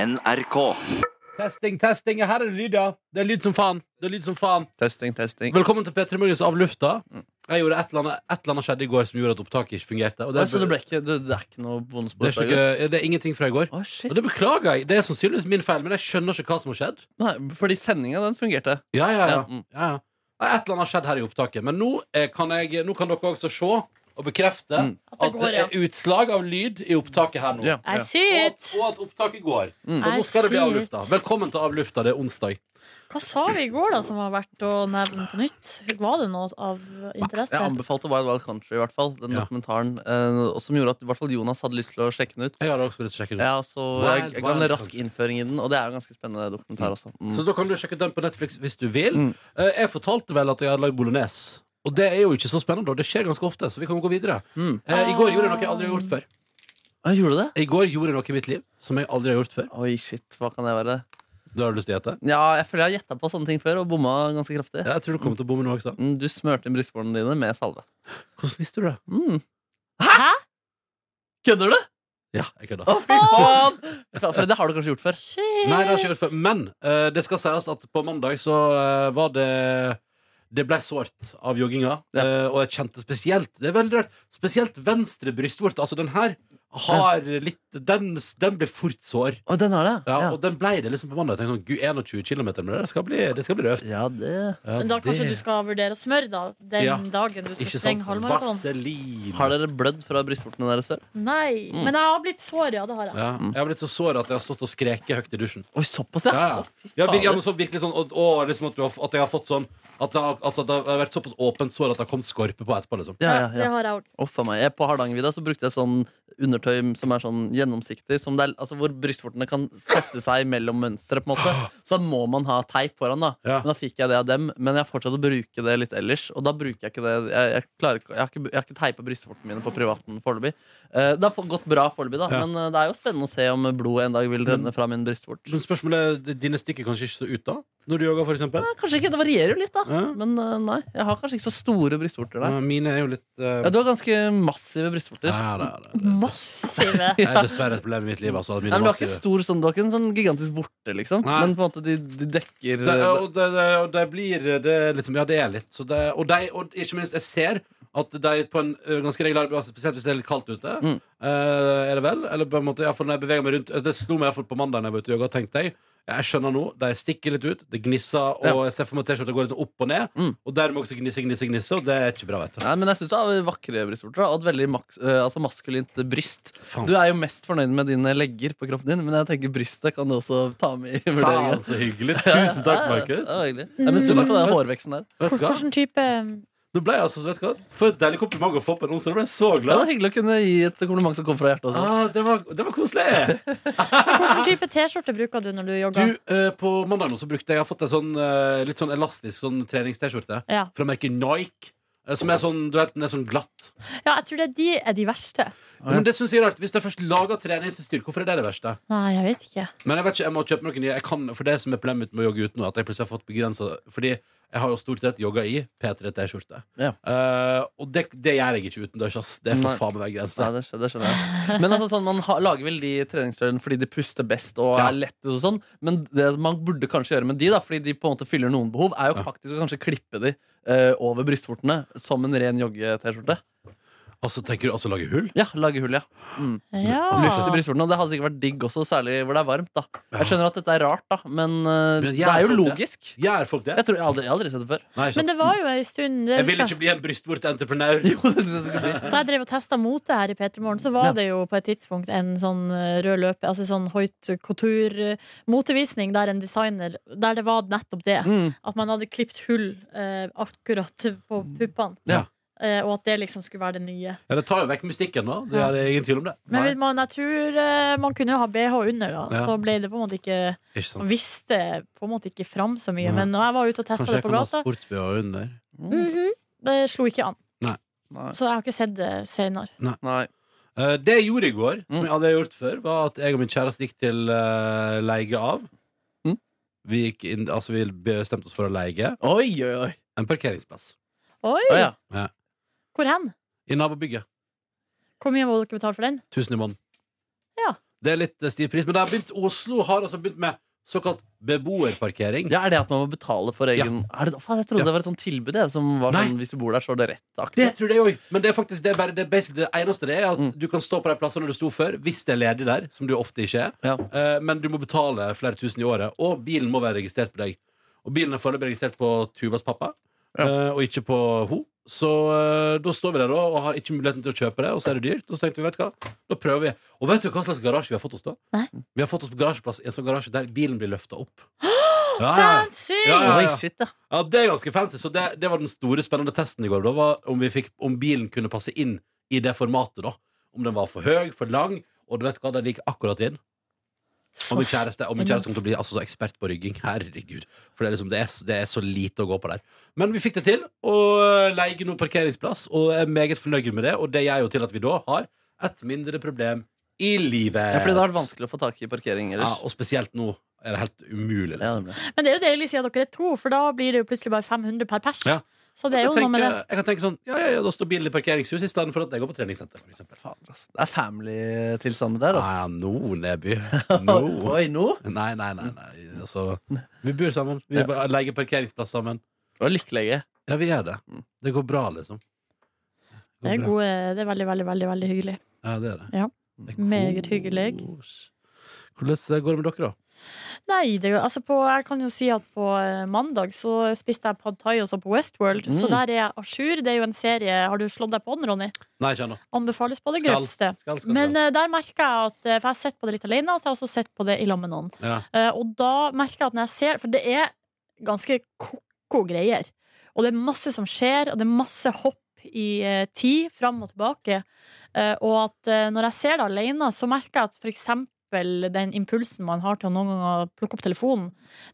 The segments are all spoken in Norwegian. NRK. Testing, testing. Her er det lyd, ja. Det er lyd som faen. Det er lyd som faen. Testing, testing. Velkommen til P3 Morgens av lufta. Jeg gjorde et eller, annet, et eller annet skjedde i går som gjorde at opptaket ikke fungerte. Og Oi, Altså, det, så det, ble ikke, det, det er ikke noe bonusbord? det, er ikke, noe- det er ingenting fra i går. Å, Og shit. det beklager jeg. Det er sannsynligvis min feil, men jeg skjønner ikke hva som har skjedd. Nei, fordi sendinga, den fungerte. Ja, ja, ja. Ja, mm. ja, ja. Nei, Et eller annet har skjedd her i opptaket. Men nå, eh, kan, jeg, nå kan dere også se og bekrefte Mm. at, det går, ja. er utslag av lyd i opptaket her nå. Ja, I ja. see Og at, it. og at opptaket går. Mm. Så I nå skal det bli see av lufta. it. Velkommen til Av lufta. Det er onsdag. Hva sa vi i går da som var verdt å nevne på nytt? Var det noe av interesse? Jeg anbefalte Wild Wild Country, i hvert fall. Den Ja. dokumentaren. Eh, og som gjorde at i hvert fall Jonas hadde lyst til å sjekke den ut. Jeg hadde også lyst til å sjekke det ut. Ja, så jeg, Wild jeg ga Wild en rask Country. innføring i den, og det er jo en ganske spennende dokumentar også. Mm. Så da kan du sjekke ut den på Netflix hvis du vil. Mm. Eh, Jeg fortalte vel at jeg hadde lagd bolognese. Og det er jo ikke så spennende. da. Det skjer ganske ofte, så vi kan gå videre. Mm. Eh, I går gjorde jeg noe jeg aldri har gjort før. Ah, gjorde du det? I går gjorde jeg noe i mitt liv som jeg aldri har gjort før. Oi, shit, hva kan det være? Du har du lyst til å gjette? Ja, jeg føler jeg har gjetta på sånne ting før og bomma ganske kraftig. Ja, jeg tror du kommer til å bomme nå også. Mm, Du smørte inn brystvortene dine med salve. Hvordan visste du det? Mm. Hæ? Kødder du? Ja, jeg kødda. Å, fy faen! Fra- Fredrik, det har du kanskje gjort før. Shit. Nei, det har jeg ikke gjort før. Men eh, det skal sies at på mandag så eh, var det Det ble sårt av jogginga, Ja. eh, og jeg kjente spesielt Det er veldig rart. Spesielt venstre brystvorte. Altså, den her har litt Den, den blir fort sår. Å, den har det? Ja, Og den blei det liksom på mandag. Jeg tenkte sånn, Gud, 21 km med det, det skal bli, det skal bli røft. ja, det Ja, Men da kanskje det- du skal vurdere å smøre da den Ja. dagen du skal Ikke sant? sprenge halvmaraton? Vaselin. Har dere blødd fra brystvortene deres før? Nei. Mm. Men jeg har blitt sår, ja. Det har jeg. Ja. Jeg har blitt så sår at jeg har stått og skreket høyt i dusjen. Oi, såpass, Ja, ja. Ja, vir- ja, men fader. så virkelig sånn og, og liksom at, du har, f- at jeg har fått sånn At det har, altså, at det har vært såpass åpent sår at det har kommet skorpe på etterpå. liksom Ja, Ja, ja, ja. Det har jeg òg. Uff a meg. Jeg- På Hardangervidda så brukte jeg sånn undertøy som er sånn gjennomsiktig, som det er, altså hvor brystvortene kan sette seg mellom mønstre, på en måte. Så da må man ha teip foran, da. Ja. Men da fikk jeg det av dem. Men jeg har fortsatt å bruke det litt ellers, og da bruker jeg ikke det. Jeg, jeg, klarer ikke, jeg har ikke, jeg har ikke teipa brystvortene mine på privaten foreløpig. Eh, det har fått- gått bra foreløpig, da, Ja. men eh, det er jo spennende å se om blodet en dag vil renne fra min bristvort. Men spørsmålet er, Dine stikker kanskje ikke så ut, da? Når du jogger, for eksempel? Ja, Kanskje ikke. Det varierer jo litt, da. Ja. Men eh, nei, jeg har kanskje ikke så store brystvorter der. Ja, mine er jo litt eh, Ja, du har ganske massive brystvorter. ja, det er det. Massive. Det er dessverre et problem i mitt liv. Altså, at mine Nei, men du har ikke massive- stor sånn, du har ikke en sånn gigantisk vorte, liksom. Nei. Men på en måte de, de dekker det, er- og det, det, og det blir det er liksom, Ja, det er litt. Så det, og, de, og ikke minst, jeg ser at de på en ø, ganske regulær basis, spesielt hvis det er litt kaldt ute, Mm. eh, er det vel? Eller på en måte, i hvert fall når jeg beveger meg rundt eh, Det slo meg i hvert fall på mandag da jeg var ute og jogga, tenkte jeg. Jeg skjønner nå, de stikker litt ut, det gnisser, og Ja. jeg ser for meg T-skjorta går litt sånn opp og ned. Mm. Og dermed også gnisse, gnisse, gnisse, og det er ikke bra, vet du. Nei, men jeg syns du har vakre brystvorter da, og et veldig maks, eh, altså maskulint bryst. Faen. Du er jo mest fornøyd med dine legger på kroppen din, men jeg tenker brystet kan du også ta med i Faen, vurderingen. så altså. hyggelig. Tusen takk, Ja, Markus. ja, det var hyggelig. Jeg misunner deg på den hårveksten der. Vet du hva? Hvilken type Nå ble jeg altså, vet du hva? For et deilig kompliment å få på en onsdag. Da ble jeg så Ja, det glad. er hyggelig å kunne gi et kompliment som kommer fra hjertet. Også. Ah, det, var, det var koselig. Hvilken type T-skjorte bruker du når du jogger? Du, eh, på mandag nå så brukte jeg Jeg har fått en sånn eh, litt sånn elastisk sånn trenings-T-skjorte Ja. fra merket Nike. eh, Som er sånn, du vet, den er sånn glatt. ja, jeg tror det er de er de verste. ja. Men det synes jeg er rart Hvis jeg først lager trening til styrke, hvorfor er det det verste? Nei, jeg vet ikke. Men jeg vet ikke, jeg må kjøpe noen nye. Jeg kan, for det som er problemet mitt med å jogge ute nå, er at jeg plutselig har fått begrensa Fordi jeg har jo stort sett jogga i P3T-skjorte. Ja. Eh, og det, det gjør jeg ikke utendørs, ass. Det er Nei. for faen meg Ja, grensa. det, skjønner, det skjønner jeg. Men altså, sånn, man ha, lager vel de treningstøyene fordi de puster best og Ja. er lettest og sånn, men det man burde kanskje gjøre med de, da, fordi de på en måte fyller noen behov, er jo Ja. faktisk å kanskje klippe de eh, over brystvortene som en ren jogge-T-skjorte. Altså, tenker du altså lage hull? Ja, lage hull, ja. Mm. Ja. Lufte til brystvortene, og det hadde sikkert vært digg også, særlig hvor det er varmt, da. Jeg skjønner at dette er rart, da, men eh, Men det er jævlig jo fort, logisk. Gjør folk det? Jeg, tror, jeg, har aldri, jeg har aldri sett det før. Nei, ikke Men sant? det var jo ei stund det Jeg vil husker jeg. ikke bli en brystvortentreprenør. Jo, det synes jeg det skulle bli. Da jeg drev og testa mote her i P3 Morgen, så var Ja. det jo på et tidspunkt en sånn eh, rød løper, altså sånn Hoit couture-motevisning der en designer Der det var nettopp det. Mm. At man hadde klipt hull eh, akkurat på puppene. Ja. Eh, og at det liksom skulle være det nye. Ja, det tar jo vekk mystikken, da. Det er ingen tvil om det. Men Nei. vil man, jeg tror eh, man kunne jo ha bh under, da. Ja. Så ble det på en måte ikke Ikke sant? Man visste på en måte ikke fram så mye. Nei. Men når jeg var ute og testa Kanskje det jeg på kan ha gata, sports-BH under. mhm, det slo ikke an. Nei. Så jeg har ikke sett det senere. Nei. Eh, det jeg gjorde i går, som Mm. jeg aldri har gjort før, var at jeg og min kjæreste gikk til eh, leie av. Mm. Vi, gikk inn, altså, vi bestemte oss for å leie Oi, oi, oi. en parkeringsplass Oi! Å, ja. Hvor hen? i nabobygget. Hvor mye må dere betale for den? Tusen i måneden. Ja. Det er litt eh, stiv pris. Men det har begynt, Oslo har altså begynt med såkalt beboerparkering. Ja, Er det at man må betale for egen er det, faen, Jeg trodde Ja. det var et sånt tilbud jeg, som var Nei. sånn hvis du bor der, så er det rett. Det tror jeg òg. Men det er faktisk det, er bare, det, er basically det eneste det er at Mm. du kan stå på de plassene du sto før, hvis det er ledig der, som du ofte ikke er. Ja. Eh, men du må betale flere tusen i året, og bilen må være registrert på deg. Og bilen er foreløpig registrert på Tuvas pappa, eh, og ikke på ho. Så eh, da står vi der da, og har ikke muligheten til å kjøpe det, og så er det dyrt. Og så tenkte vi, vet du hva, da prøver vi. Og vet du hva slags garasje vi har fått oss da? Nei. Vi har fått oss på garasjeplass i en sånn garasje der bilen blir løfta opp. Ja, Ah, ja. Fancy! Ja, ja, ja. Oi, shit, ja. Ja, det er ganske fancy. Så det, det var den store, spennende testen i går. Da var om, vi fikk, om bilen kunne passe inn i det formatet, da. Om den var for høy, for lang. Og du vet hva, den gikk akkurat inn. Og Så min kjæreste, og min spennende. kjæreste kommer til å bli altså, så ekspert på rygging. Herregud. For det er, liksom, det, er, så- det er så lite å gå på der. Men vi fikk det til. Og leier nå parkeringsplass, og er meget fornøyd med det. Og det gjør jo til at vi da har et mindre problem i livet. ja, fordi det har vært vanskelig å få tak i parkering Ja, ellers. og spesielt nå er det helt umulig, Ja, liksom. nemlig. Men det er jo deilig siden dere er to, for da blir det jo plutselig bare 500 per pers. Ja. Så det er jo jeg, noe med det. tenker- jeg kan tenke sånn, ja, ja, ja, da står bilen i parkeringshus i stedet for at jeg går på treningssenter, for eksempel. Fader, ass. altså. Det er family-tilstander der, Ja, ja, ass. nå, Neby. Nå. Oi, nå? Nei, nei, nei. nei. Altså, vi bor sammen. Vi Ja. bare leier parkeringsplass sammen. Det var lykkelege. Ja, vi gjør det. Det går bra, liksom. Det er, bra. gode, det er veldig, veldig, veldig veldig hyggelig. Ja, det er det. Ja. Det er Meget hyggelig. kos. Hvordan eh, går det med dere, da? Nei, det, er jo- altså på, jeg kan jo si at på eh, mandag så spiste jeg pad thai også på Westworld, så Mm. der er jeg à jour. Det er jo en serie Har du slått deg på den, Ronny? Nei, ikke ennå. Anbefales på det Skal. grøvste. Skal, skal, skal. Men eh, der merker jeg at eh, For jeg har sett på det litt alene, og så har jeg også sett på det i lag med noen. Ja. Eh, og da merker jeg at når jeg ser For det er ganske ko-ko greier. Og det er masse som skjer, og det er masse hopp i eh, tid fram og tilbake. Eh, og at eh, når jeg ser det alene, så merker jeg at for eksempel den impulsen man har til å noen ganger plukke opp telefonen,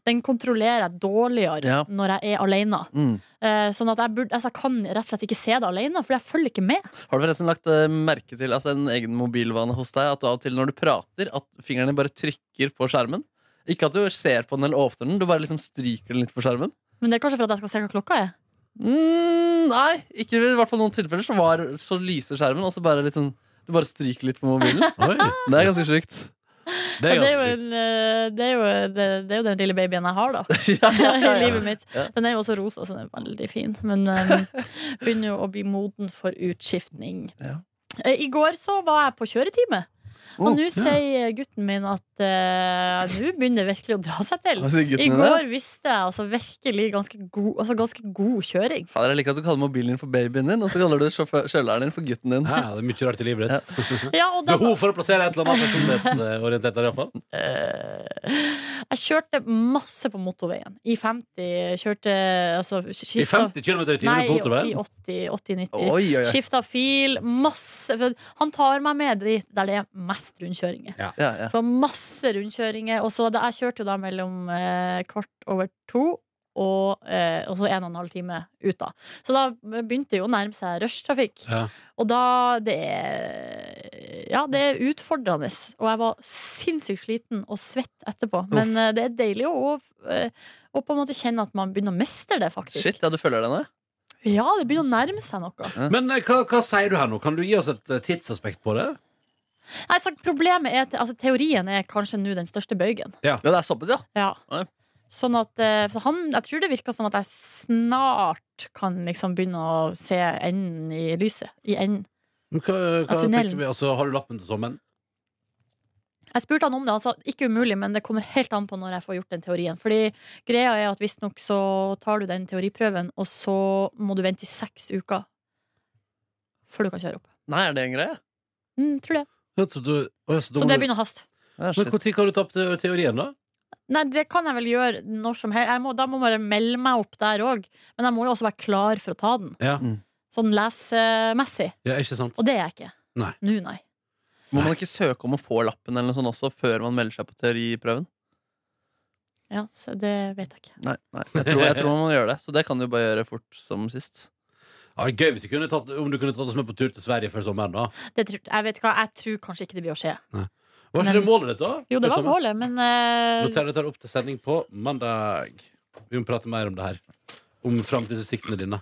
den kontrollerer jeg dårligere Ja. når jeg er alene. Mm. Eh, sånn at jeg, burde, altså, jeg kan rett og slett ikke se det alene, for jeg følger ikke med. Har du forresten lagt eh, merke til altså, en egen mobilvane hos deg? At du av og til når du prater, at fingrene bare trykker på skjermen? Ikke at du ser på den eller åpner den, du bare liksom stryker den litt på skjermen. Men det er kanskje for at jeg skal se hva klokka er. Mm, nei, ikke i hvert fall noen tilfeller så, var, så lyser skjermen, og så bare liksom du bare stryker litt på mobilen. Oi, Det er ganske sjukt. det er ganske Ja, Altså, jo sjukt. en, eh, det, er jo, det, det er jo den lille babyen jeg har, da. Ja, ja, ja, i ja. livet mitt. Ja. Den er jo også rosa, så den er veldig fin. Men um, begynner jo å bli moden for utskiftning. Ja. Eh, I går så var jeg på kjøretime. Og Oh, nå sier gutten min at eh, nå begynner det virkelig å dra seg til. Hva sier I guttene det? går visste jeg altså virkelig ganske god, altså ganske god kjøring. Fader, jeg liker at du kaller mobilen din for babyen din, og så kaller du sjåfør- kjøleren din for gutten din. Ja, det er mye rart i livet ditt. Ja, og da, Behov for å plassere et eller annet personlighetsorientert der, iallfall. eh, jeg kjørte masse på motorveien. I 50 kjørte altså, I skiftet- 50 km i timen på Nei, i motorveien? 80, 80-90. Oi, oi, oi. Skifta fil, masse for Han tar meg med dit der det er mest rundkjøringer. Ja, ja. Så masse rundkjøringer. Og så det, jeg kjørte jo da mellom eh, kvart over to og, eh, og så en og en halv time ut, da. Så da begynte det jo å nærme seg rushtrafikk. Ja. Og da Det er Ja, det er utfordrende. Og jeg var sinnssykt sliten og svett etterpå. Men eh, det er deilig å, eh, å på en måte kjenne at man begynner å mestre det, faktisk. Shit, ja, du følger denne? Ja, det begynner å nærme seg noe. Men eh, hva, hva sier du her nå? Kan du gi oss et eh, tidsaspekt på det? Nei, så problemet er at- altså, Teorien er kanskje nå den største bøygen. Ja, det er såpass, ja. Ja. Oi. Sånn at eh, så han, Jeg tror det virker som at jeg snart kan liksom begynne å se enden i lyset. I enden. Men Hva, hva Ja, tunnelen. tenker vi? Altså, har du lappen til sommeren? Jeg spurte han om det. Han sa ikke umulig, men det kommer helt an på når jeg får gjort den teorien. Fordi greia er at visstnok så tar du den teoriprøven, og så må du vente i seks uker før du kan kjøre opp. Nei, er det en greie? Mm, tror det. Vet du, å, så da Så må det du- begynner å haste. Ja, Men shit. Når kan du ta opp te- teorien, da? Nei, det kan jeg vel gjøre når som helst. Jeg må, da må jeg bare melde meg opp der òg. Men jeg må jo også være klar for å ta den. Ja. Mm. Sånn lesemessig. Ja, ikke sant? Og det er jeg ikke. Nei. Nå, nei. Må man ikke søke om å få lappen eller noe sånt også før man melder seg på teoriprøven? Ja, så det vet jeg ikke. Nei, nei. Jeg, tror, jeg tror man må gjøre det, så det kan du bare gjøre fort som sist. Ja, det er gøy hvis du kunne tatt, om du kunne tatt oss med på tur til Sverige før sommeren, da. Det tror, jeg, vet hva, jeg tror kanskje ikke det blir å skje. Var ikke Men- det målet ditt, da? Jo, det Før var sommeren? målet, men eh, Noter dette opp til sending på mandag. Vi må prate mer om det her. Om framtidsutsiktene dine.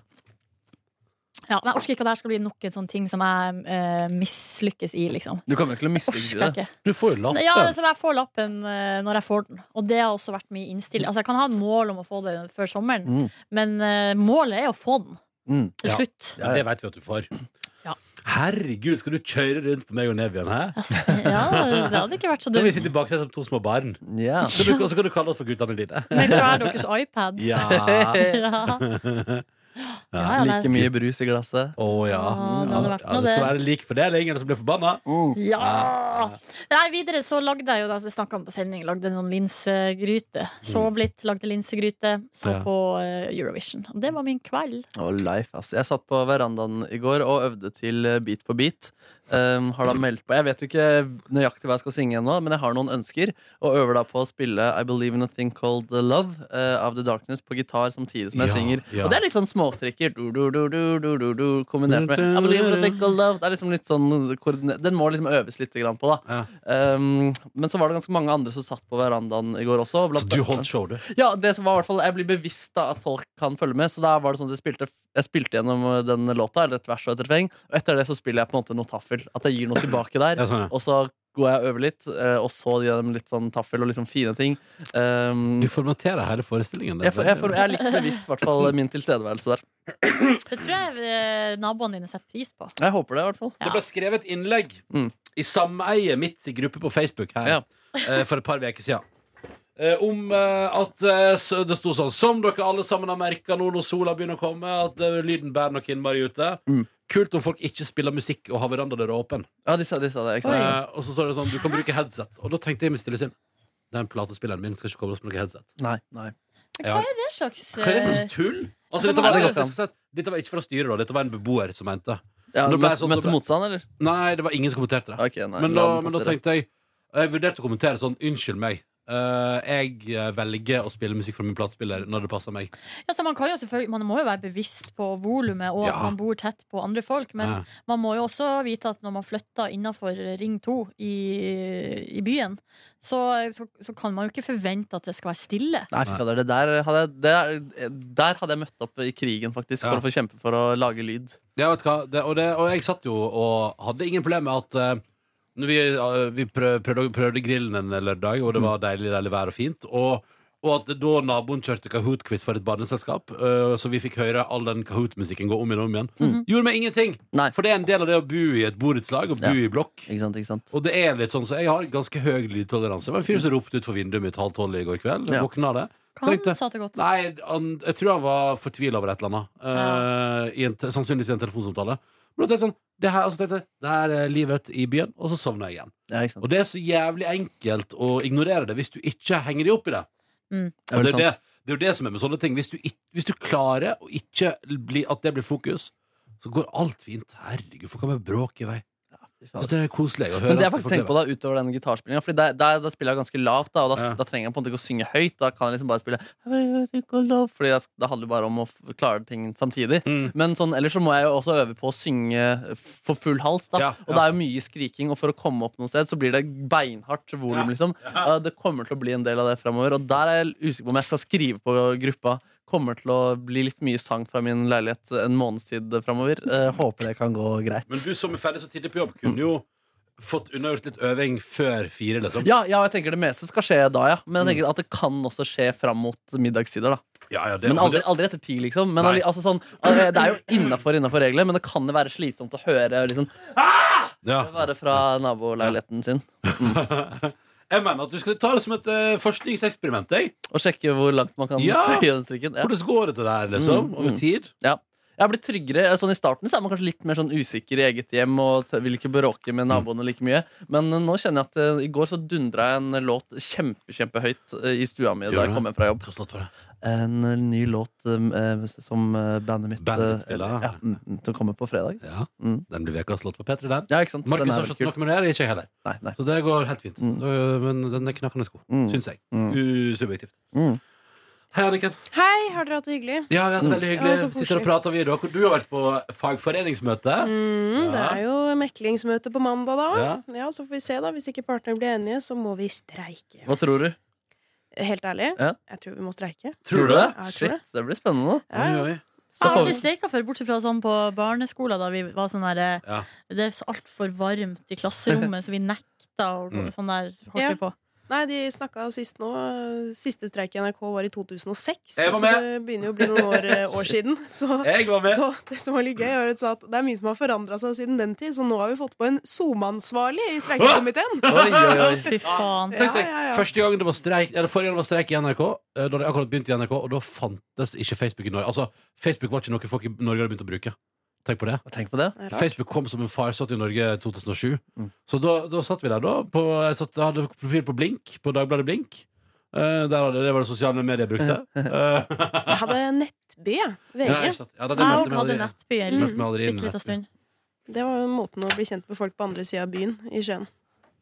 Ja, men jeg orker ikke at det her skal bli nok en sånn ting som jeg eh, mislykkes i, liksom. Du kommer jo ikke til å Orker mislykkes i det. ikke. Du får jo lappen. Ja, altså, jeg får lappen eh, når jeg får den, og det har også vært min innstilling. Altså, jeg kan ha et mål om å få det før sommeren, Mm. men eh, målet er å få den Mm. til Ja. slutt. Ja, det vet vi at du får. Ja. Herregud, skal du kjøre rundt på meg og Nevian, hæ? Ja, s- ja, det hadde ikke vært så Da vi dumt. sitter i baksetet som to små barn. Ja. Så du, og så kan du kalle oss for guttene dine. Med hver deres iPad. Ja. Ja. Ja, ja, det- Like mye brus i glasset. Å ja. Ja, det hadde vært ja. noe, Det skal det. være lik fordeling, ellers blir jeg forbanna. Ja! Nei, videre så lagde jeg jo da, det snakket om på sending, lagde en sånn linsegryte. Sov litt, lagde linsegryte, så Mm. Ja. på eh, Eurovision. Og det var min kveld. Oh, life, ass. Jeg satt på verandaen i går og øvde til eh, Beat for beat. Um, har da meldt på Jeg vet jo ikke nøyaktig hva jeg skal synge ennå, men jeg har noen ønsker. Og øver da på å spille I Believe in a Thing Called Love eh, av The Darkness på gitar samtidig som jeg Ja, synger. ja. Og det er litt sånn småtrikker. Du, du, du, du, du, du, du, kombinert med I Believe in a Thing Called Love. Det er liksom litt sånn koordine- Den må liksom øves litt grann på, da. Ja. Um, men så var det ganske mange andre som satt på verandaen i går også. Så blant- du holdt show, du. ja, det som var i hvert fall Jeg blir bevisst da at folk kan følge med. Så da var det sånn at jeg spilte, jeg spilte gjennom eh, den låta, eller et vers og et refreng. Og etter det så spiller jeg på en måte noe taffel. At jeg gir noe tilbake der. Ja, sånn, ja. Og så går jeg og øver litt, eh, og så gir jeg dem litt sånn taffel og liksom fine ting. Um, Du formaterer hele forestillingen. det er jeg, får- jeg, får- veldig- jeg er litt bevisst i hvert fall min tilstedeværelse der. Det tror jeg eh, naboene dine setter pris på. Jeg håper det, i hvert fall. Ja. Det ble skrevet innlegg Mm. i sameie mitt i gruppe på Facebook her Ja. eh, for et par uker siden. Eh, om eh, at eh, så- det sto sånn Som dere alle sammen har merka nå når sola begynner å komme, at eh, lyden bærer noe innmari ute. Mm. Kult om folk ikke spiller musikk og har verandadøra åpen. Ja, de sa, de sa det. Ikke sant? Eh, og så står det sånn Du kan bruke headset. Og da tenkte jeg med stille sinn Den platespilleren min skal ikke kobles på noe headset. Nei, nei. Ja. Hva er det slags Hva er det for eh, noe tull? Altså, Altså, dette, man var, har- jeg skal si at dette var ikke fra styret, da. Dette var en beboer som mente. Ja, Nå ble jeg møtte, sånn- nå møtte ble- motstand, eller? Nei, det var ingen som kommenterte det. Ok, nei, men, da, la den men da passere. tenkte jeg Jeg vurderte å kommentere sånn Unnskyld meg eh, Jeg eh, velger å spille musikk fra min platespiller Når det passer meg ja, så man, kan jo selvfølgelig- man må jo være bevisst på volumet og at Ja. man bor tett på andre folk, men Ja. man må jo også vite at når man flytter innafor Ring 2 i, i byen, så, så, så kan man jo ikke forvente at det skal være stille. Nei, fy fader, det der hadde jeg, det er- der hadde jeg møtt opp i krigen, faktisk, Ja. for å få kjempe for å lage lyd. Ja, vet du hva det, og, det, og jeg satt jo og hadde ingen problem med at eh, når vi, eh, vi prøv, prøvde, prøvde grillen en lørdag Og det var deilig, deilig vær og fint Og, og at da naboen kjørte Kahoot-quiz for et barneselskap eh, Så vi fikk høre all den Kahoot-musikken gå om igjen og om igjen Gjorde meg ingenting Nei. For det er en del av det å bo i et borettslag Og bo i blokk Ikke sant, ikke sant? Og det er litt sånn, så jeg har ganske høy lydtoleranse. Det var en fyr som ropte ut for vinduet mitt halv tolv i går kveld. Ja. Jeg våkna av det. Kan Tenkte- sa det godt. Nei, han, jeg tror han var fortvila over et eller annet. eh, Ja. i en, te- sannsynligvis i en telefonsamtale. Men da tenkte jeg sånn, det her, altså, tenkte, jeg, det her er livet i byen, og så sovna jeg igjen. Ja, ikke sant? Og det er så jævlig enkelt å ignorere det hvis du ikke henger deg opp i det. Ja, Og det, sant. er det, det er jo det som er med sånne ting. Hvis du, ikk- hvis du klarer å ikke bli, at det blir fokus, så går alt fint. Herregud, for hva med bråk i vei? Så det er koselig å høre. Men det at jeg faktisk folk tenker på da, utover den gitarspillingen Fordi der, der, da spiller jeg ganske lavt, da, og da, Ja. da trenger jeg på en måte ikke å synge høyt. Da kan jeg liksom bare spille Fordi jeg, da handler det bare om å f- klare ting samtidig. Mm. Men sånn, ellers så må jeg jo også øve på å synge f- for full hals. Da. Ja, Og det er jo mye skriking, og for å komme opp noe sted så blir det beinhardt volum. Liksom. Eh, Det kommer til å bli en del av det framover, og der er jeg usikker på om jeg skal skrive på gruppa. Kommer til å bli litt mye sang fra min leilighet en måneds tid framover. Håper det kan gå greit. Men du som er ferdig så tidlig på jobb, kunne jo fått unnagjort litt øving før fire, liksom. Ja, ja, jeg tenker det meste skal skje da, ja. Men jeg tenker at det kan også skje fram mot middagstider. da Ja, ja, det, Men aldri, det- aldri etter ti, liksom. Men Nei. alli- altså, sånn, eh, det er jo innafor reglene, men det kan jo være slitsomt å høre liksom, ja. være fra naboleiligheten sin. Jeg mener at du skal ta det som et eh, forskningseksperiment, jeg. Og sjekke hvor langt man kan Ja! støye den strikken. Ja. Hvordan går det til det her, liksom? Mm, Over mm. tid? Ja. Jeg har blitt tryggere, sånn I starten så er man kanskje litt mer sånn usikker i eget hjem og t- vil ikke bråke med Mm. naboene like mye. Men eh, nå kjenner jeg at eh, i går så dundra jeg en låt kjempe, kjempehøyt eh, i stua mi Gjør da du? jeg kom hjem fra jobb. Hva slags var det? en ny låt um, eh, som eh, bandet mitt Bandet eh, ditt spiller, ja. ja, mm, mm, Som kommer på fredag. Ja, Mm. Den blir ukas låt på P3, den. Ja, ikke sant? Den Markus er har veldig ikke hatt noe med det her, ikke jeg heller. kul. Nei, nei. Så det går helt fint. Mm. Øh, Men den er knakkende god, Mm. syns jeg. Mm. Usubjektivt. Mm. Hei, Anniken. Hei, har dere hatt det hyggelig? Ja, vi har hatt det Mm. veldig Ja, hyggelig. så koselig. Sitter og prater videre. Du har vært på fagforeningsmøte. Mm, Det Ja. er jo meklingsmøte på mandag, da. Ja. Ja. Så får vi se, da. Hvis ikke partene blir enige, så må vi streike. Hva tror du? Helt ærlig, Ja. jeg tror vi må streike. Tror du det? Ja, jeg tror Shit, det blir spennende. Ja. Oi, oi. Jeg har aldri streika før, bortsett fra sånn på barneskolen, da vi var sånn der eh, Ja. Det er så altfor varmt i klasserommet, så vi nekta og Mm. sånn der holdt Ja. vi på. Nei, de snakka sist nå. Siste streik i NRK var i 2006. Jeg var Så det begynner jo å bli noen år, eh, år siden. Så, Jeg var med. så det som var litt gøy, var at de sa at det er mye som har forandra seg siden den tid, så nå har vi fått på en SoMe-ansvarlig i streikekomiteen. Oi, oi, oi. Fy faen. Tenk deg, Ja, ja, ja. Første gang det var streik Eller Forrige gang det var streik i NRK, eh, da det akkurat begynte i NRK, og da fantes ikke Facebook i Norge. Altså, Facebook var ikke noe folk i Norge hadde begynt å bruke. Tenk på det. Tenk på det. Det er rart. Facebook kom som en farsott i Norge i 2007. Mm. Så da, da satt vi der, da. På, jeg satt, jeg hadde profil på Blink, på Dagbladet Blink. Eh, der hadde, det var det sosiale medier jeg brukte. Eh, Jeg hadde nettby, jeg. ja, VG. ikke sant. ja, da, det Jeg meldte òg meg hadde aldri- Mm. nettby en meldte meg aldri inn, bitte liten nettby. stund. Det var jo måten å bli kjent med folk på andre sida av byen i Skien.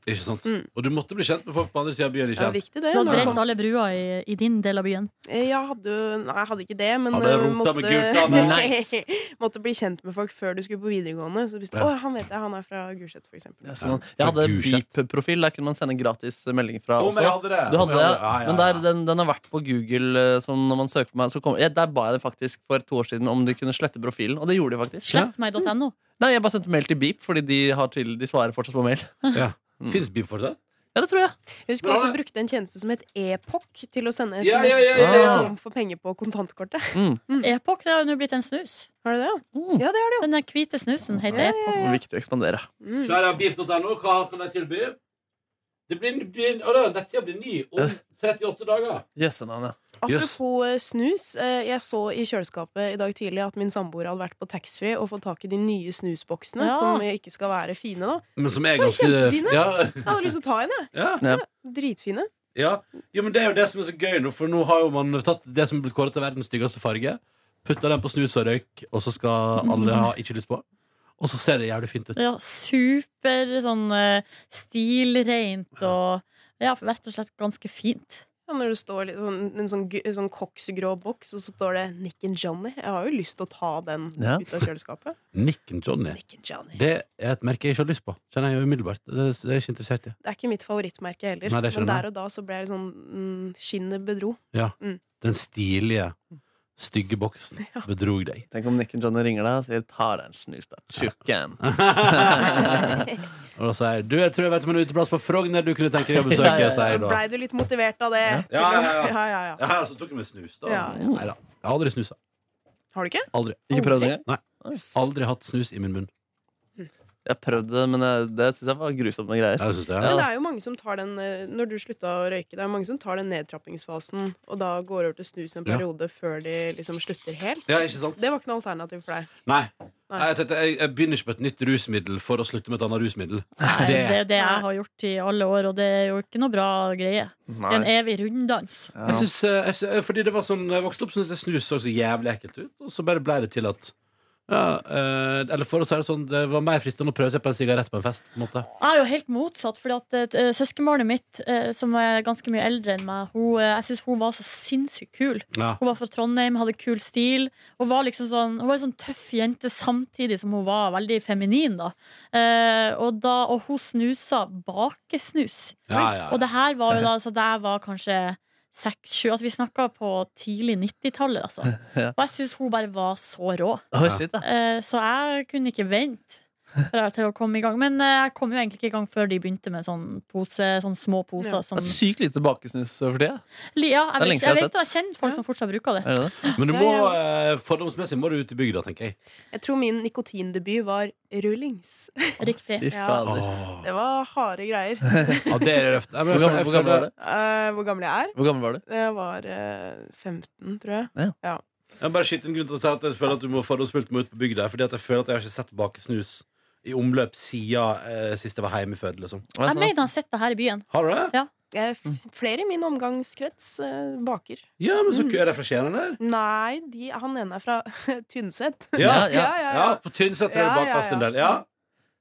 Ikke sant? Mm. Og du måtte bli kjent med folk på andre sida av byen. Det var Ikke sant? viktig, det. Du hadde når det brent alle bruer i, i din del av byen. Jeg hadde jo Nei, jeg hadde ikke det, men Hadde eh, rota med gutta, måtte bli kjent med folk før du skulle på videregående. Så visste du Ja. å, han vet jeg, han er fra Gulset, for eksempel. Ja, sånn. Jeg hadde Gulset. Beep-profil. Der kunne man sende gratis meldinger fra. Å, men jeg Også. hadde det. Du hadde Å, jeg det, hadde det. Ja, ja, men der, ja. den, den har vært på Google. eh, Som når man søker på meg så kommer- ja, Der ba jeg dem faktisk for to år siden om de kunne slette profilen, og det gjorde de faktisk. Slett meg.no. Nei, Jeg bare sendte mail til Beep, fordi de, har til, de svarer fortsatt på mail. Ja. Fins Bib fortsatt? Ja, det tror jeg. Jeg husker Bra, også det. brukte en tjeneste som het Epok til å sende Ja, SMS ja, ja, ja, og så ja. tom for penger på kontantkortet. Mm. Epok det har jo nå blitt en snus. Har du det? ja? Mm. Ja, det har du jo. Den der hvite snusen heter Epok. Det er Viktig å ekspandere. Mm. Kjære Beep.no, hva kan jeg tilby? Det blir, blir, å, da, nettsida blir ny om 38 dager. Jøssenavnet. Apropos eh, snus. eh, Jeg så i kjøleskapet i dag tidlig at min samboer hadde vært på taxfree og fått tak i de nye snusboksene, Ja. som ikke skal være fine, da. Men som er Oi, ganske kjempefine. ja, Jeg hadde lyst til å ta en, jeg. ja, Dritfine. ja. Jo, men Det er jo det som er så gøy nå, for nå har jo man tatt det som er blitt kåret til verdens styggeste farge, putta den på snus og røyk, og så skal alle ha ikke lyst på. Og så ser det jævlig fint ut. Ja, super sånn eh, stilrent og ja, rett og slett ganske fint. Ja, når det står litt, sånn, en sånn, gu- sånn koksgrå boks, og så står det Nick and Johnny. Jeg har jo lyst til å ta den Ja. ut av kjøleskapet. Nick and Johnny. Nick and Johnny. Det er et merke jeg ikke har lyst på. Kjenner jeg jo umiddelbart. Det det er jeg ikke interessert i. Det er ikke mitt favorittmerke heller, Nei, det skjønner men jeg. der og da så ble jeg litt sånn mm, Skinnet bedro. Den stilige, stygge boksen bedrog deg. Tenk om Nick and Johnny ringer deg og sier 'ta deg en snus', da. Tjukken. Og da sier jeg du, jeg tror jeg vet om en uteplass på Frogner du kunne tenke deg å besøke. Ja, ja, ja. sier Så jeg da. blei du litt motivert av det. til Ja, å- ja, ja. ja, ja, ja. Ja, så tok jeg meg snus, da. Ja. Nei da. Jeg har aldri snusa. Har du ikke? Aldri. Ikke prøvd det? Nei. Aldri hatt snus i min munn. Jeg prøvde det, men eh, det syns jeg var grusomme greier. Jeg synes det Ja. Men det er jo mange som tar den eh, Når du slutta å røyke, det er mange som tar den nedtrappingsfasen og da går over til snus en Ja. periode før de liksom slutter helt. Ja, ikke sant? Det var ikke noe alternativ for deg. Nei. Nei, jeg, tenkte, jeg, jeg begynner ikke på et nytt rusmiddel for å slutte med et annet rusmiddel. Nei, det er Det. jo det jeg har gjort i alle år, og det er jo ikke noe bra greie. Det er En evig runddans. Jeg synes, eh, jeg, sy- eh, fordi det var sånn, når jeg vokste opp, syntes jeg snus så så jævlig ekkelt ut. Og så bare ble det til at ja, eh, Eller for å si det sånn, det var mer fristende å prøve seg på en sigarett på en fest. På en måte. Jeg er jo helt motsatt, fordi at eh, søskenbarnet mitt, eh, som er ganske mye eldre enn meg, hun, eh, jeg syns hun var så sinnssykt kul. Ja. Hun var fra Trondheim, hadde kul stil. Hun var liksom sånn, hun var en sånn tøff jente samtidig som hun var veldig feminin. da. Eh, og, da og hun snusa bakesnus. Ja, ja, ja. Og det her var jo da, så der var kanskje seks-sju Altså, vi snakka på tidlig 90-tallet, altså. Ja. Og jeg syns hun bare var så rå. Å, shit, da. Eh, så jeg kunne ikke vente. for- Til å komme i gang Men eh, jeg kom jo egentlig ikke i gang før de begynte med sånn pose, sånne små poser. Ja. Som, Det er sykt lite bakesnus for tida. Li- ja, Det er lenge siden jeg, vet, jeg jeg har vet jeg kjenner folk Ja. som fortsatt bruker det. Er det det? Men du Ja, må, eh, fordomsmessig må du ut i bygda, tenker jeg. Jeg tror min nikotindebut var rullings. Riktig. Fy Ja. fader. Det var harde greier. Ja, det er røft. Nei, men Hvor jeg føler- gammel, hvor gammel var du? Eh, hvor gammel jeg er? Hvor gammel var du? Jeg var eh, 15, tror jeg. Jeg bare skyter en grunn til å si at jeg føler at du må fordomsfullt må ut på bygda. Fordi at jeg føler at jeg har ikke sett bakesnus i omløp siden eh, sist jeg var hjemme før. Liksom. Ja, Jeg sånn. mener han sitter her i byen. Har du det? Jeg, Mm. flere i min omgangskrets eh, baker. Ja, men så kø er det fra Skien, eller? Nei, de, han ene er fra Tynset. Ja, ja, Ja, Ja, ja, ja. på Tynset tror jeg Ja, det ja, bakast en ja. del. Ja,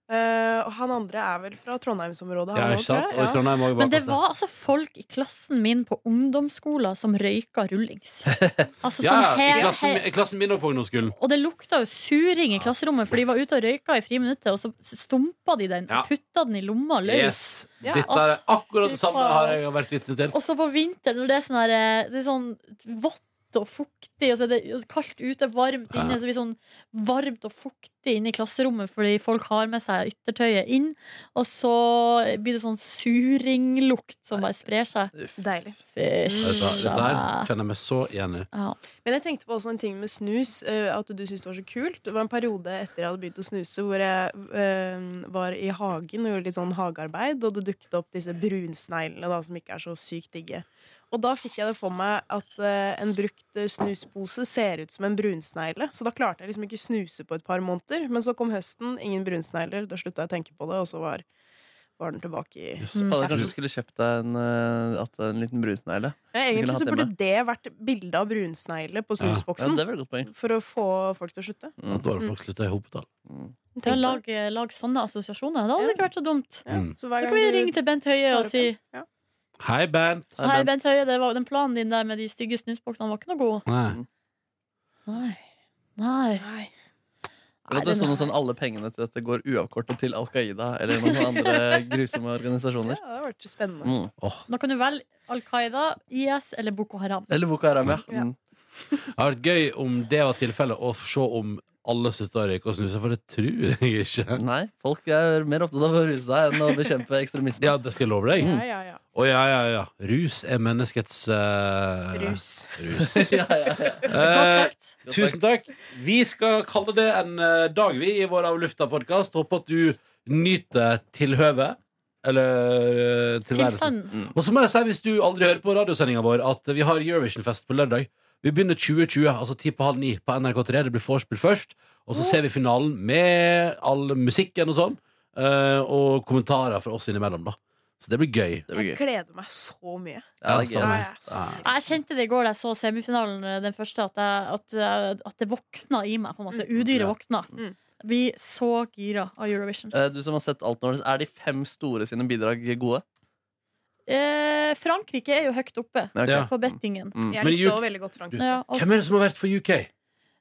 Eh, og han andre er vel fra Trondheimsområdet. ja han ikke også, sant? Og tror i jeg. Trondheim også Men det bakast en del. var altså folk i klassen min på ungdomsskolen som røyka rullings. Altså Ja, sånn ja, i he- klassen, he- i klassen min og på ungdomsskolen. og det lukta jo suring i klasserommet, for de var ute og røyka i friminuttet, og så stumpa de den Ja. og putta den i lomma løs. Yes. Ja, Dette er akkurat det fy samme faen. har jeg vært vitne til. Og så på vinteren, når det er sånn, her, eh, det er sånn vått og fuktig, og så er det kaldt ute, varmt Ja. inne. Så det blir sånn varmt og fuktig inne i klasserommet fordi folk har med seg yttertøyet inn. Og så blir det sånn suringlukt som bare sprer seg. Deilig. Fysj. Dette, dette her kjenner jeg meg så igjen i. Ja. Men jeg tenkte på også en ting med snus, eh, at du syntes det var så kult. Det var en periode etter jeg hadde begynt å snuse, hvor jeg eh, var i hagen og gjorde litt sånn hagearbeid, og det dukket opp disse brunsneglene da, som ikke er så sykt digge. Og da fikk jeg det for meg at eh, en brukt eh, snuspose ser ut som en brunsnegle, så da klarte jeg liksom ikke snuse på et par måneder. Men så kom høsten, ingen brunsnegler, da slutta jeg å tenke på det, og så var, var den tilbake i Yes. Mm. Fader, Kanskje du skulle kjøpt deg en, eh, at- en liten brunsnegle? ja, kunne Egentlig hatt så det burde det vært bilde av brunsnegle på Ja. Ja, snusboksen. det var et godt poeng. For å få folk til å slutte. At Mm. da har folk slutta i hopetall. Mm. Ja, lag, eh, lag sånne assosiasjoner. Det hadde ikke vært så dumt. Ja, Mm. Så hver Da gang kan vi du ringe til Bent Høie tar og opp si en- ja. Hei, band! Hei, Bent Høie, det var, den planen din der med de stygge snusboksene var ikke noe god. Nei. Nei. Nei. Eller at det Nei, er sånn, den- sånn alle pengene til dette går uavkortet til Al Qaida eller noen andre grusomme Ja, organisasjoner. det har vært spennende. Mm. Da kan du velge Al Qaida, IS eller Boko Haram. Eller Boko Haram, ja. Ja. Mm. Det har vært gøy om det var tilfellet, å se om alle slutta å røyke og snuse, for det tror jeg ikke. Nei, folk er mer opptatt av å ruse seg enn å bekjempe ekstremisme. Ja, det skal jeg love deg. Ja, Mm. ja, ja. Å ja, ja, ja. Rus er menneskets eh, Rus. rus. ja, ja, ja. Godt Eh, sagt. Godt tusen takk. Vi skal kalle det en eh, dag, vi, i vår Av lufta-podkast. Håper at du nyter tilhøvet. Eller uh, tilværelsen. Tilstand. Og så må jeg si, hvis du aldri hører på radiosendinga vår, at vi har Eurovision-fest på lørdag. Vi begynner 2020, altså ti på halv ni på NRK3. Det blir vorspiel først. Og så ser vi finalen med all musikken og sånn. eh, og kommentarer fra oss innimellom, da. Så det blir gøy. Det blir gøy. Jeg Mm. gleder meg så mye. Ja, det er gøy. Ja, ass. jeg er så gira. Jeg kjente det i går da jeg så semifinalen, eh, den første, at, jeg, at, at det våkna i meg. på en måte Udyret Ja. våkna. Mm. Vi så gira av Eurovision. Eh, Du som har sett alt nå, er de fem store sine bidrag gode? Eh, Frankrike er jo høyt oppe Nei, ok. Ja. på bettingen. Mm. Jeg Men likte Juk- også veldig godt Frankrike. Ja, og Hvem er det som har vært for UK?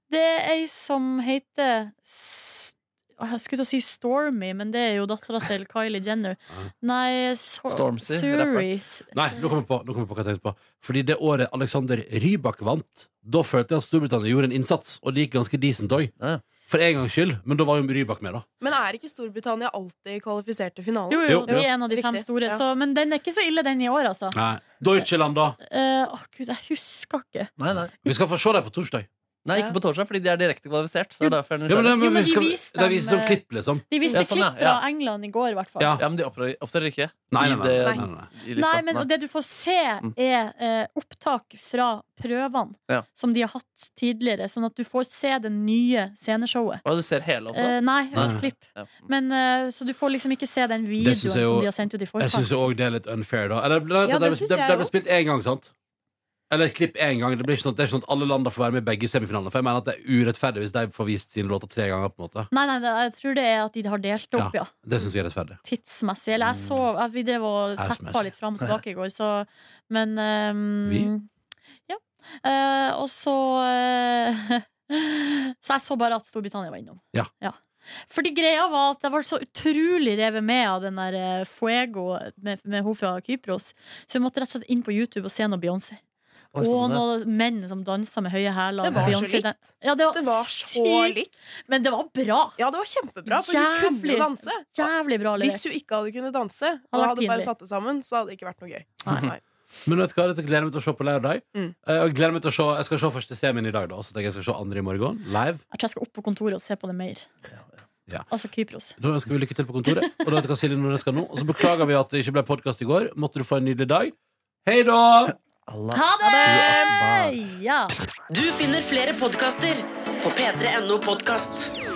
Det er ei som heter S- Åh, Jeg skulle til å si Stormy, men det er jo dattera til Kylie Jenner. Ja. Nei, so Stormzy, Suri. Nei, nå kom jeg på, nå kom jeg på hva jeg tenkte på. Fordi det året Alexander Rybak vant, da følte jeg at Storbritannia gjorde en innsats, og det gikk ganske decent òg. Ja. For en gangs skyld. Men da var jo Rybak med, da. Men er ikke Storbritannia alltid kvalifisert til finalen? Jo, jo, Jo, det er en av de fem Riktig, store. ja. Så, men den er ikke så ille, den i år, altså. Nei. Deutschland, da. Eh, Åh, gud, jeg husker ikke. Nei, nei. Vi skal få se dem på torsdag. nei, ikke på torsdag, fordi de er direkte kvalifisert. Så det er derfor jeg er Ja, men, nysgjerrig. men vi de skal, viste det dem, vises som eh, klipp, liksom. De viste Ja, sånn, ja. klipp fra England i går, i hvert fall. Ja. Ja, men de opptrer opptrer ikke. Nei, I nei, nei. det- nei, nei, nei. I lista. Nei, men og Nei. det du får se, Mm. er eh, opptak fra prøvene Ja. som de har hatt tidligere. Sånn at du får se det nye sceneshowet. Å, du ser hele også? Eh, nei, Nei. altså klipp. Ja. Men, eh, så du får liksom ikke se den videoen Mm. synes jeg jo- som de har sendt ut i Jeg forkant. syns òg det er litt unfair, da. Eller, nei, det, Ja, det ble- synes det, jeg det ble også. spilt én gang, sant? Eller et klipp én gang. Det, blir ikke sånn, at- det er ikke sånn at alle landa får være med i begge semifinalene. For jeg mener at det er urettferdig hvis de får vist sine låter tre ganger. på en måte Nei, nei, det, jeg tror det er at de har delt det opp, ja. Det syns jeg er rettferdig. Tidsmessig. Eller Mm. jeg så jeg, Vi drev og zappa Tidsmessig. litt fram og tilbake i går, så Men ehm, Ja. Eh, og så eh, Så jeg så bare at Storbritannia var innom. Ja. Fordi greia var at jeg ble så utrolig revet med av den der eh, Fuego med, med hun fra Kypros. Så jeg måtte rett og slett inn på YouTube og se noe Beyoncé. Oi, Og sånn, ja. noen menn som dansa med høye hæler. Det var så Beyoncé, likt. den- Ja, det var, Det var så sykt. likt. Men det var bra. Ja, det var kjempebra, for du kunne Jævlig. jo danse. Jævlig bra Hvis levert. du ikke hadde kunnet danse, og vært hadde bare pinlig. satt det sammen, så hadde det ikke vært noe gøy. Nei. Men vet du hva, dette gleder jeg meg til å se på lørdag. Mm. Eh, Og jeg gleder meg til å se Jeg skal se første semien i dag, da. Og så tenker jeg jeg skal se andre i morgen. Live. Jeg tror jeg skal opp på kontoret og se på det mer. Ja. Altså Kypros. Da ønsker vi lykke til på kontoret. Og da vet du hva Silje Nordnes skal nå. Og så beklager vi at det ikke ble podkast i går. Måtte du få en nydelig dag. Hei da! Allah. Ha Ha det! Ja. Du finner flere podkaster på p3.no podkast.